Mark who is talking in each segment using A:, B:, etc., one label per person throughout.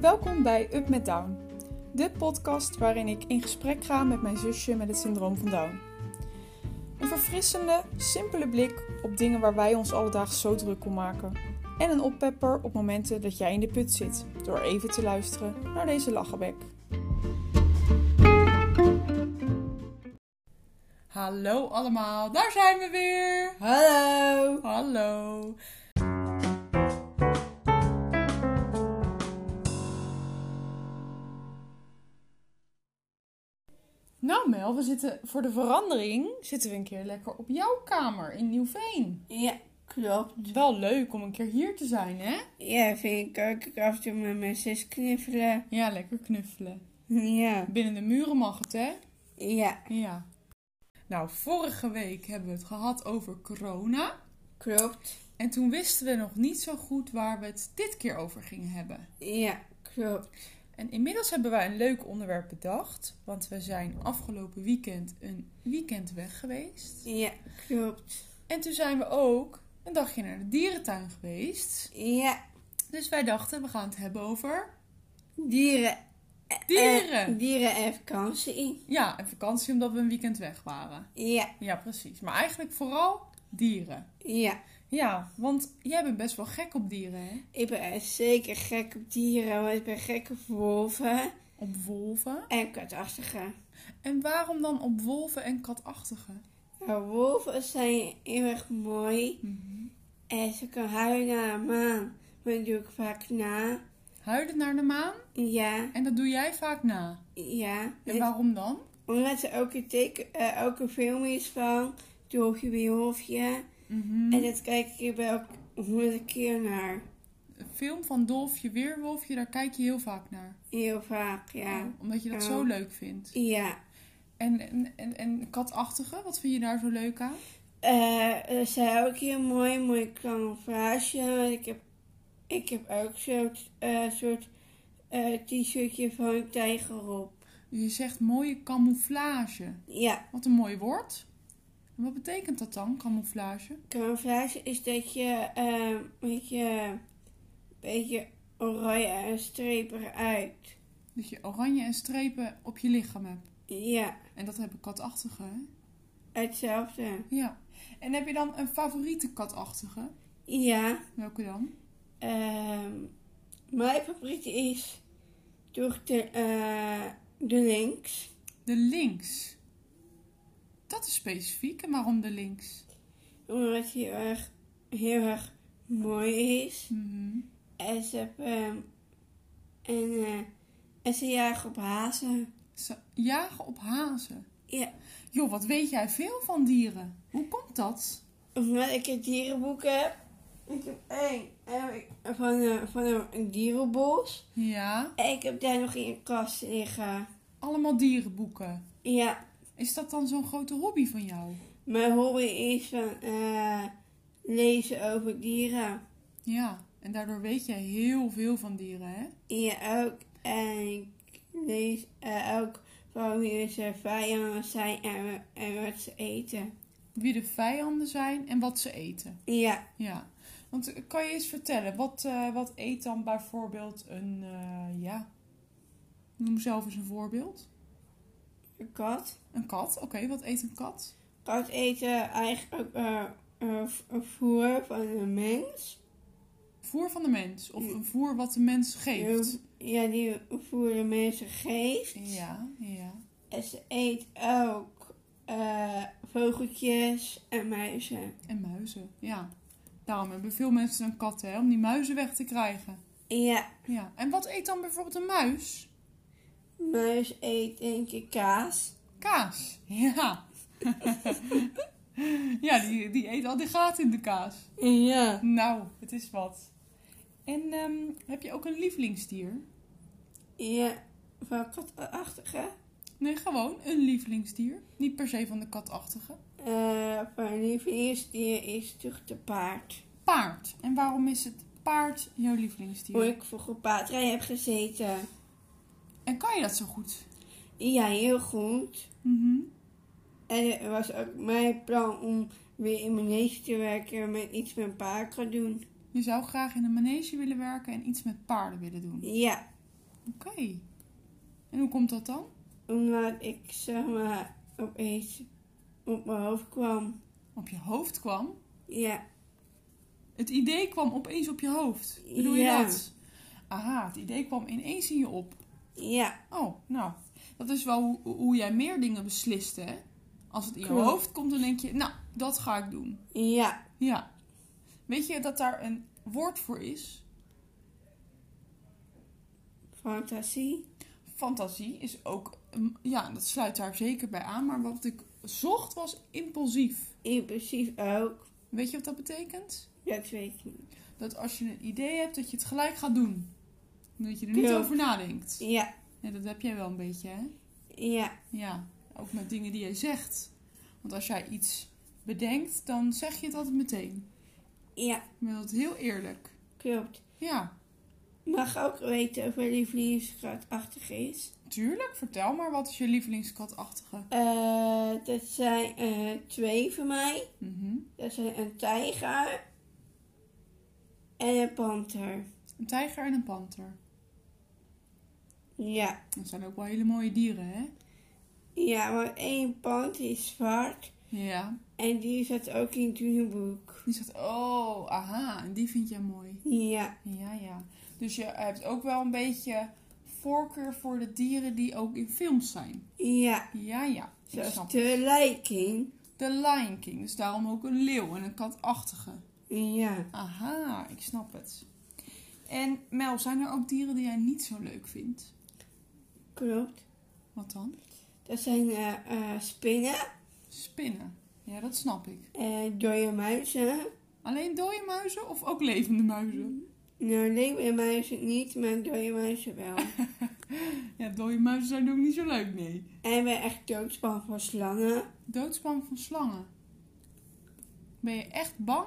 A: Welkom bij Up met Down, de podcast waarin ik in gesprek ga met mijn zusje met het syndroom van Down. Een verfrissende, simpele blik op dingen waar wij ons alledaags zo druk om maken. En een oppepper op momenten dat jij in de put zit, door even te luisteren naar deze lachenbek. Hallo allemaal, daar zijn we weer!
B: Hallo!
A: Hallo! Nou Mel, we zitten voor de verandering zitten we een keer lekker op jouw kamer in Nieuwveen.
B: Ja, klopt.
A: Het is wel leuk om een keer hier te zijn, hè?
B: Ja, vind ik ook. Ik af en toe met mijn zus knuffelen.
A: Ja, lekker knuffelen.
B: Ja.
A: Binnen de muren mag het, hè?
B: Ja,
A: Ja. Nou, vorige week hebben we het gehad over corona.
B: klopt.
A: En toen wisten we nog niet zo goed waar we het dit keer over gingen hebben.
B: Ja, klopt.
A: En inmiddels hebben wij een leuk onderwerp bedacht. Want we zijn afgelopen weekend een weekend weg geweest.
B: Ja, klopt.
A: En toen zijn we ook een dagje naar de dierentuin geweest.
B: Ja,
A: Dus wij dachten, we gaan het hebben over
B: dieren.
A: dieren.
B: Eh, dieren en vakantie.
A: Ja, en vakantie omdat we een weekend weg waren.
B: Ja,
A: Ja, precies. Maar eigenlijk vooral dieren.
B: ja.
A: Ja, want jij bent best wel gek op dieren, hè?
B: Ik ben echt zeker gek op dieren, want ik ben gek op wolven
A: Op wolven.
B: en katachtigen.
A: En waarom dan op wolven en katachtigen?
B: Nou, wolven zijn heel erg mooi en ze kunnen huilen naar de maan. Maar dat doe ik vaak na.
A: Huilen naar de maan?
B: Ja.
A: En dat doe jij vaak na.
B: Ja,
A: En waarom dan?
B: omdat er ook een, teken, eh, ook een film is van Dolfje bij Hofje.
A: Mhm.
B: En dat kijk ik wel ook honderd keer naar.
A: Een film van Dolfje Weerwolfje, daar kijk je heel vaak naar.
B: Heel vaak, ja.
A: Omdat je dat
B: Ja.
A: zo leuk vindt.
B: Ja.
A: En, en, en, en katachtige, wat vind je daar zo leuk aan?
B: Eh, er zijn ook heel mooi, mooi camouflage. Want ik heb, ik heb ook zo'n eh, soort eh, t-shirtje van een tijger op.
A: Je zegt mooie camouflage.
B: Ja,
A: Wat een mooi woord. En wat betekent dat dan, camouflage?
B: camouflage is dat je eh, een beetje, een beetje oranje en strepen uit.
A: Dat je oranje en strepen op je lichaam hebt.
B: Ja,
A: En dat hebben katachtige, hè?
B: hetzelfde.
A: Ja. En heb je dan een favoriete katachtige?
B: Ja,
A: Welke dan?
B: ehm, mijn favoriet is toch de, eh, de links.
A: De links. Dat is specifiek. En waarom de links?
B: Omdat hij heel erg, heel erg mooi is.
A: Mhm.
B: En ze, hebben, ehm, en, eh, en ze jagen op hazen.
A: Ze jagen op hazen.
B: Ja,
A: Joh, wat weet jij veel van dieren? Hoe komt dat?
B: omdat ik een dierenboek heb. Ik heb één heb ik van, een- van een dierenbos.
A: Ja,
B: En ik heb daar nog in een kast liggen.
A: allemaal dierenboeken.
B: Ja,
A: Is dat dan zo'n grote hobby van jou?
B: Mijn hobby is van eh, lezen over dieren.
A: Ja, en daardoor weet jij heel veel van dieren, hè?
B: Ja, ook. En ik lees eh, ook van wie ze vijanden zijn en, en wat ze eten.
A: Wie de vijanden zijn en wat ze eten.
B: Ja,
A: Ja, want eh, kan je eens vertellen, wat, eh, wat eet dan bijvoorbeeld een, eh, ja, noem zelf eens een voorbeeld.
B: een kat.
A: Een kat, oké, wat eet een kat?
B: Kat eten eigenlijk ook eh, eh, v- voer van een mens.
A: Voer van de mens, of een voer wat de mens geeft.
B: Ja, die voer de mensen geeft.
A: Ja, ja.
B: En ze eet ook eh, vogeltjes en muizen.
A: En muizen, ja. Daarom hebben veel mensen een kat, hè, om die muizen weg te krijgen.
B: Ja,
A: Ja. En wat eet dan bijvoorbeeld een muis?
B: muis eet denk ik kaas.
A: Kaas. Ja. ja, die, die eet al die gaten in de kaas.
B: Ja.
A: Nou, het is wat. En ehm, heb je ook een lievelingsdier?
B: Ja, van katachtige.
A: Nee, gewoon een lievelingsdier. Niet per se van de katachtige.
B: Eh van lievelingsdier is toch de paard.
A: Paard. En waarom is het paard jouw
B: Hoe
A: lievelingsdier?
B: ik vroeger paardrij heb gezeten.
A: En kan je dat zo goed?
B: Ja, heel goed.
A: Mhm.
B: En het was ook mijn plan om weer in mijn neus te werken met iets met paard kan doen.
A: Je zou graag in een manege willen werken en iets met paarden willen doen.
B: Ja,
A: Oké. En hoe komt dat dan?
B: Omdat ik zeg maar opeens op mijn hoofd kwam.
A: Op je hoofd kwam?
B: Ja,
A: Het idee kwam opeens op je hoofd. Bedoel
B: Ja.
A: je dat? Aha, het idee kwam ineens in je op.
B: ja,
A: Oh, nou. Dat is wel hoe, hoe jij meer dingen beslist, hè? Als het in je
B: Klopt.
A: hoofd komt, dan denk je, nou, dat ga ik doen.
B: ja.
A: Ja. Weet je dat daar een woord voor is?
B: Fantasie.
A: Fantasie is ook, een- ja, dat sluit daar zeker bij aan. Maar wat ik zocht was impulsief.
B: Impulsief ook.
A: Weet je wat dat betekent?
B: Dat weet ik niet.
A: Dat als je een idee hebt, dat je het gelijk gaat doen. Omdat je er niet
B: Klopt.
A: over nadenkt.
B: Ja,
A: Ja, dat heb jij wel een beetje, hè?
B: ja,
A: Ja, ook met dingen die jij zegt. Want als jij iets bedenkt, dan zeg je het altijd meteen.
B: ja,
A: Ik ben altijd heel eerlijk.
B: klopt.
A: Ja,
B: Mag ook weten of mijn lievelingsschatachtig is.
A: tuurlijk. Vertel maar, wat is je lievelingskatachtige?
B: Eh, dat zijn eh, twee van mij.
A: Mhm.
B: Dat zijn een tijger en een panter.
A: Een tijger en een panter.
B: Ja,
A: Dat zijn ook wel hele mooie dieren, hè?
B: ja, want één panter is zwart
A: Ja.
B: en die zat ook in het Dune-boek.
A: Die zegt, oh, aha, en die vind jij mooi.
B: Ja,
A: Ja, ja. Dus je hebt ook wel een beetje voorkeur voor de dieren die ook in films zijn.
B: ja.
A: Ja, ja. Ik
B: Zoals
A: snap
B: de lijking.
A: De Lion King, dus daarom ook een leeuw en een katachtige.
B: Ja.
A: Aha, ik snap het. En Mel, zijn er ook dieren die jij niet zo leuk vindt?
B: Klopt.
A: Wat dan?
B: Dat zijn eh, eh, spinnen,
A: Spinnen. Ja, dat snap ik.
B: en dode muizen.
A: Alleen dode muizen of ook levende muizen?
B: Nou, levende muizen niet, maar dode muizen wel.
A: Ja, dode muizen zijn ook niet zo leuk, nee.
B: en ben echt doodsbang voor slangen.
A: Doodsbang van slangen. Ben je echt bang?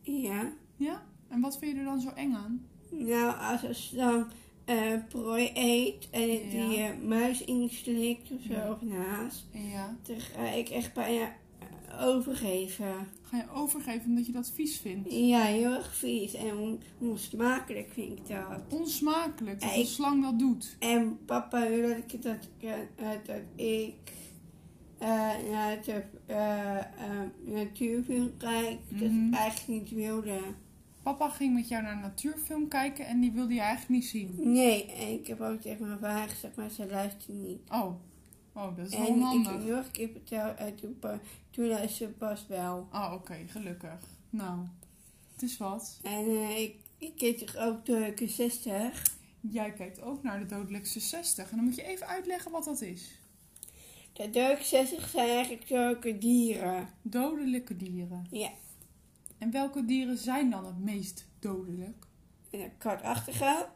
B: Ja.
A: Ja? En wat vind je er dan zo eng aan?
B: Nou, als een slang eh, prooi eet en het
A: Ja.
B: die eh, muis inslikt of zo,
A: Ja.
B: of naast,
A: Ja.
B: dan ga ik echt bijna eh, overgeven.
A: Ga je overgeven omdat je dat vies vindt?
B: Ja, heel erg vies en on- onsmakelijk vind ik dat.
A: Onsmakelijk dat een
B: Ik-
A: slang dat doet.
B: En papa wil dat ik, dat ik, eh, dat ik eh, naar het eh, eh, natuurfilm kijk. Dat
A: Mhm.
B: ik eigenlijk niet wilde.
A: Papa ging met jou naar een natuurfilm kijken en die wilde je eigenlijk niet zien.
B: Nee, en ik heb ook tegen mijn vader gezegd, maar ze luistert niet.
A: Oh, oh dat is wel
B: en ik
A: onhandig.
B: heb nog een keer verteld, en toen, pa- eh, toen luisterde ze pas wel.
A: Ah, oké, gelukkig. Nou, het is wat.
B: En eh, ik, ik keek toch ook door de 60.
A: Jij kijkt ook naar de dodelijkste 60. En dan moet je even uitleggen wat dat is.
B: De Durk 60 zijn eigenlijk zulke dieren.
A: Dodelijke dieren.
B: Ja,
A: En welke dieren zijn dan het meest dodelijk?
B: en een katachtige.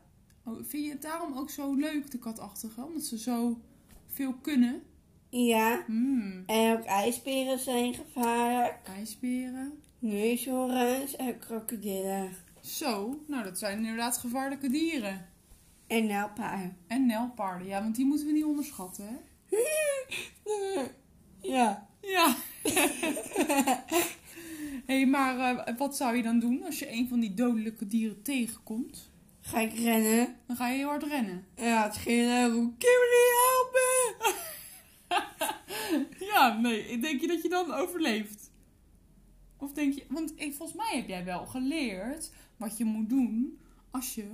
A: Oh, vind je het daarom ook zo leuk, de katachtigen? Omdat ze zo veel kunnen?
B: Ja,
A: Hmm.
B: en ook ijsberen zijn gevaarlijk.
A: Ijsberen.
B: Neushoorns en krokodillen.
A: Zo, nou dat zijn inderdaad gevaarlijke dieren.
B: En nijlpaarden.
A: En nelpaarden, ja, want die moeten we niet onderschatten, hè?
B: Ja.
A: Ja. hey, maar eh, wat zou je dan doen als je een van die dodelijke dieren tegenkomt?
B: Ga ik rennen?
A: Dan ga je heel hard rennen.
B: Ja, het ging roep. Kimberly, help me!
A: ja, nee. Denk je dat je dan overleeft? Of denk je... Want eh, volgens mij heb jij wel geleerd wat je moet doen als je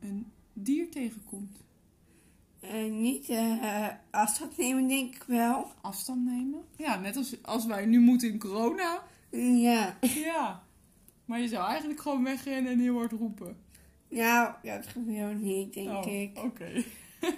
A: een dier tegenkomt.
B: En niet eh eh, afstand nemen, denk ik wel.
A: Afstand nemen. Ja, net als, als wij nu moeten in corona.
B: Ja.
A: Ja. Maar je zou eigenlijk gewoon wegrennen en heel hard roepen.
B: Nou, dat gebeurt niet, denk
A: Oh,
B: ik.
A: Oké.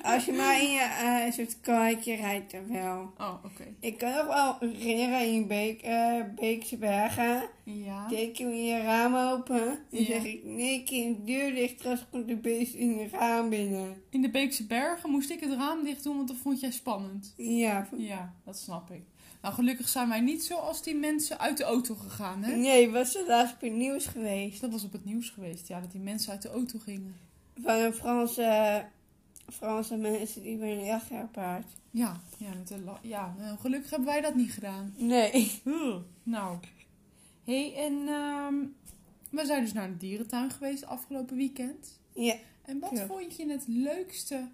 B: Als je maar in je eh, soort karretje rijdt, dan wel.
A: Oh, oké.
B: Ik kan nog wel herinneren in Beek, eh, Beekse Bergen.
A: Ja.
B: Teken we je raam open. Dan
A: Ja.
B: zeg ik, nee kind, deur dicht, straks komt de beest in je raam binnen.
A: In de Beekse Bergen moest ik het raam dicht doen, want dat vond jij spannend.
B: Ja,
A: Ja, dat snap ik. Nou, gelukkig zijn wij niet zoals die mensen uit de auto gegaan, hè?
B: Nee, was er laatst op het nieuws geweest.
A: Dat was op het nieuws geweest, ja, dat die mensen uit de auto gingen.
B: Van een Franse, Franse mensen die bij een jachtpaard.
A: Ja, ja, met de la- ja nou, gelukkig hebben wij dat niet gedaan.
B: Nee.
A: Nou. hey, en ehm, We zijn dus naar de dierentuin geweest afgelopen weekend.
B: Ja,
A: En wat
B: Ja.
A: vond je het leukste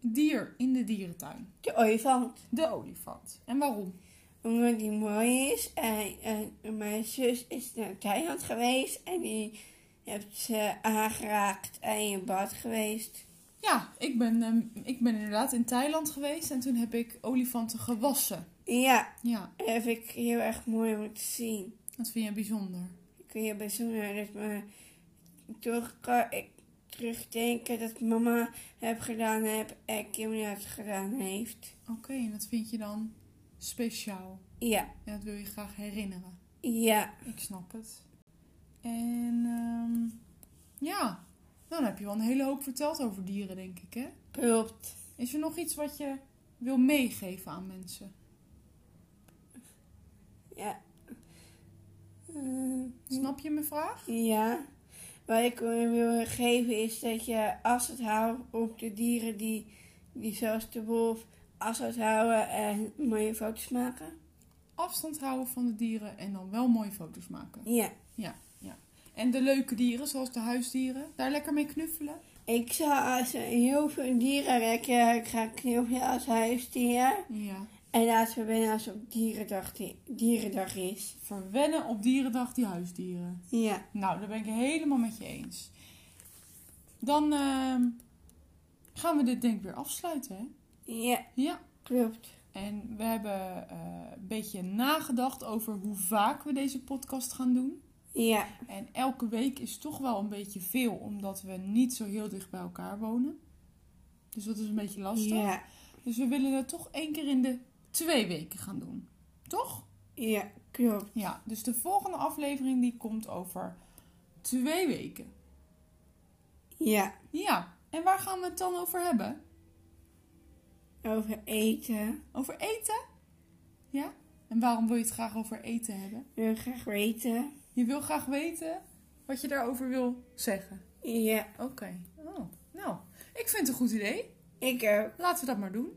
A: dier in de dierentuin?
B: de olifant.
A: De olifant. En waarom?
B: Omdat die mooi is. En, en mijn zus is naar Thailand geweest. En die heeft ze aangeraakt en in bad geweest.
A: Ja, ik ben, ehm, ik ben inderdaad in Thailand geweest en toen heb ik olifanten gewassen.
B: Ja,
A: Ja,
B: dat heb ik heel erg mooi om te zien.
A: dat vind je bijzonder.
B: Ik ben heel bijzonder dat me dus toch kan ik terugdenken dat mama heb gedaan heb en Kim dat gedaan heeft.
A: Oké, en dat vind je dan speciaal.
B: Ja,
A: En dat wil je graag herinneren.
B: ja,
A: Ik snap het. En ehm, ja, Nou, dan heb je wel een hele hoop verteld over dieren, denk ik, hè?
B: klopt.
A: Is er nog iets wat je wil meegeven aan mensen?
B: Ja. Eh,
A: Snap je mijn vraag?
B: ja. Wat ik wil geven is dat je afstand houdt op de dieren die, die zoals de wolf afstand houden en mooie foto's maken.
A: Afstand houden van de dieren en dan wel mooie foto's maken.
B: Ja.
A: En de leuke dieren, zoals de huisdieren, daar lekker mee knuffelen.
B: Ik zou als er heel veel dieren lekker gaan knuffelen als huisdier.
A: Ja.
B: En laten we binnen als op dierendag, di- dierendag is.
A: Verwennen op dierendag die huisdieren.
B: Ja.
A: Nou, daar ben ik helemaal met je eens. Dan ehm, gaan we dit denk ik weer afsluiten, hè?
B: Ja,
A: Ja.
B: klopt.
A: En we hebben eh, een beetje nagedacht over hoe vaak we deze podcast gaan doen.
B: Ja.
A: En elke week is toch wel een beetje veel, omdat we niet zo heel dicht bij elkaar wonen. Dus dat is een beetje lastig.
B: Ja.
A: Dus we willen het toch één keer in de twee weken gaan doen. Toch?
B: Ja, klopt.
A: Ja, dus de volgende aflevering die komt over twee weken.
B: Ja.
A: Ja, en waar gaan we het dan over hebben?
B: Over eten.
A: Over eten? Ja? En waarom wil je het graag over eten hebben?
B: Wil je graag weten.
A: Je wil graag weten wat je daarover wil zeggen.
B: Ja.
A: Oké. Oh, nou, ik vind het een goed idee.
B: Ik ook.
A: Laten we dat maar doen.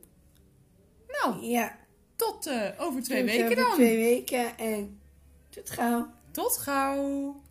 A: Nou,
B: Ja.
A: tot eh, over twee
B: Tot
A: weken
B: over
A: dan.
B: Twee weken en tot gauw.
A: Tot gauw.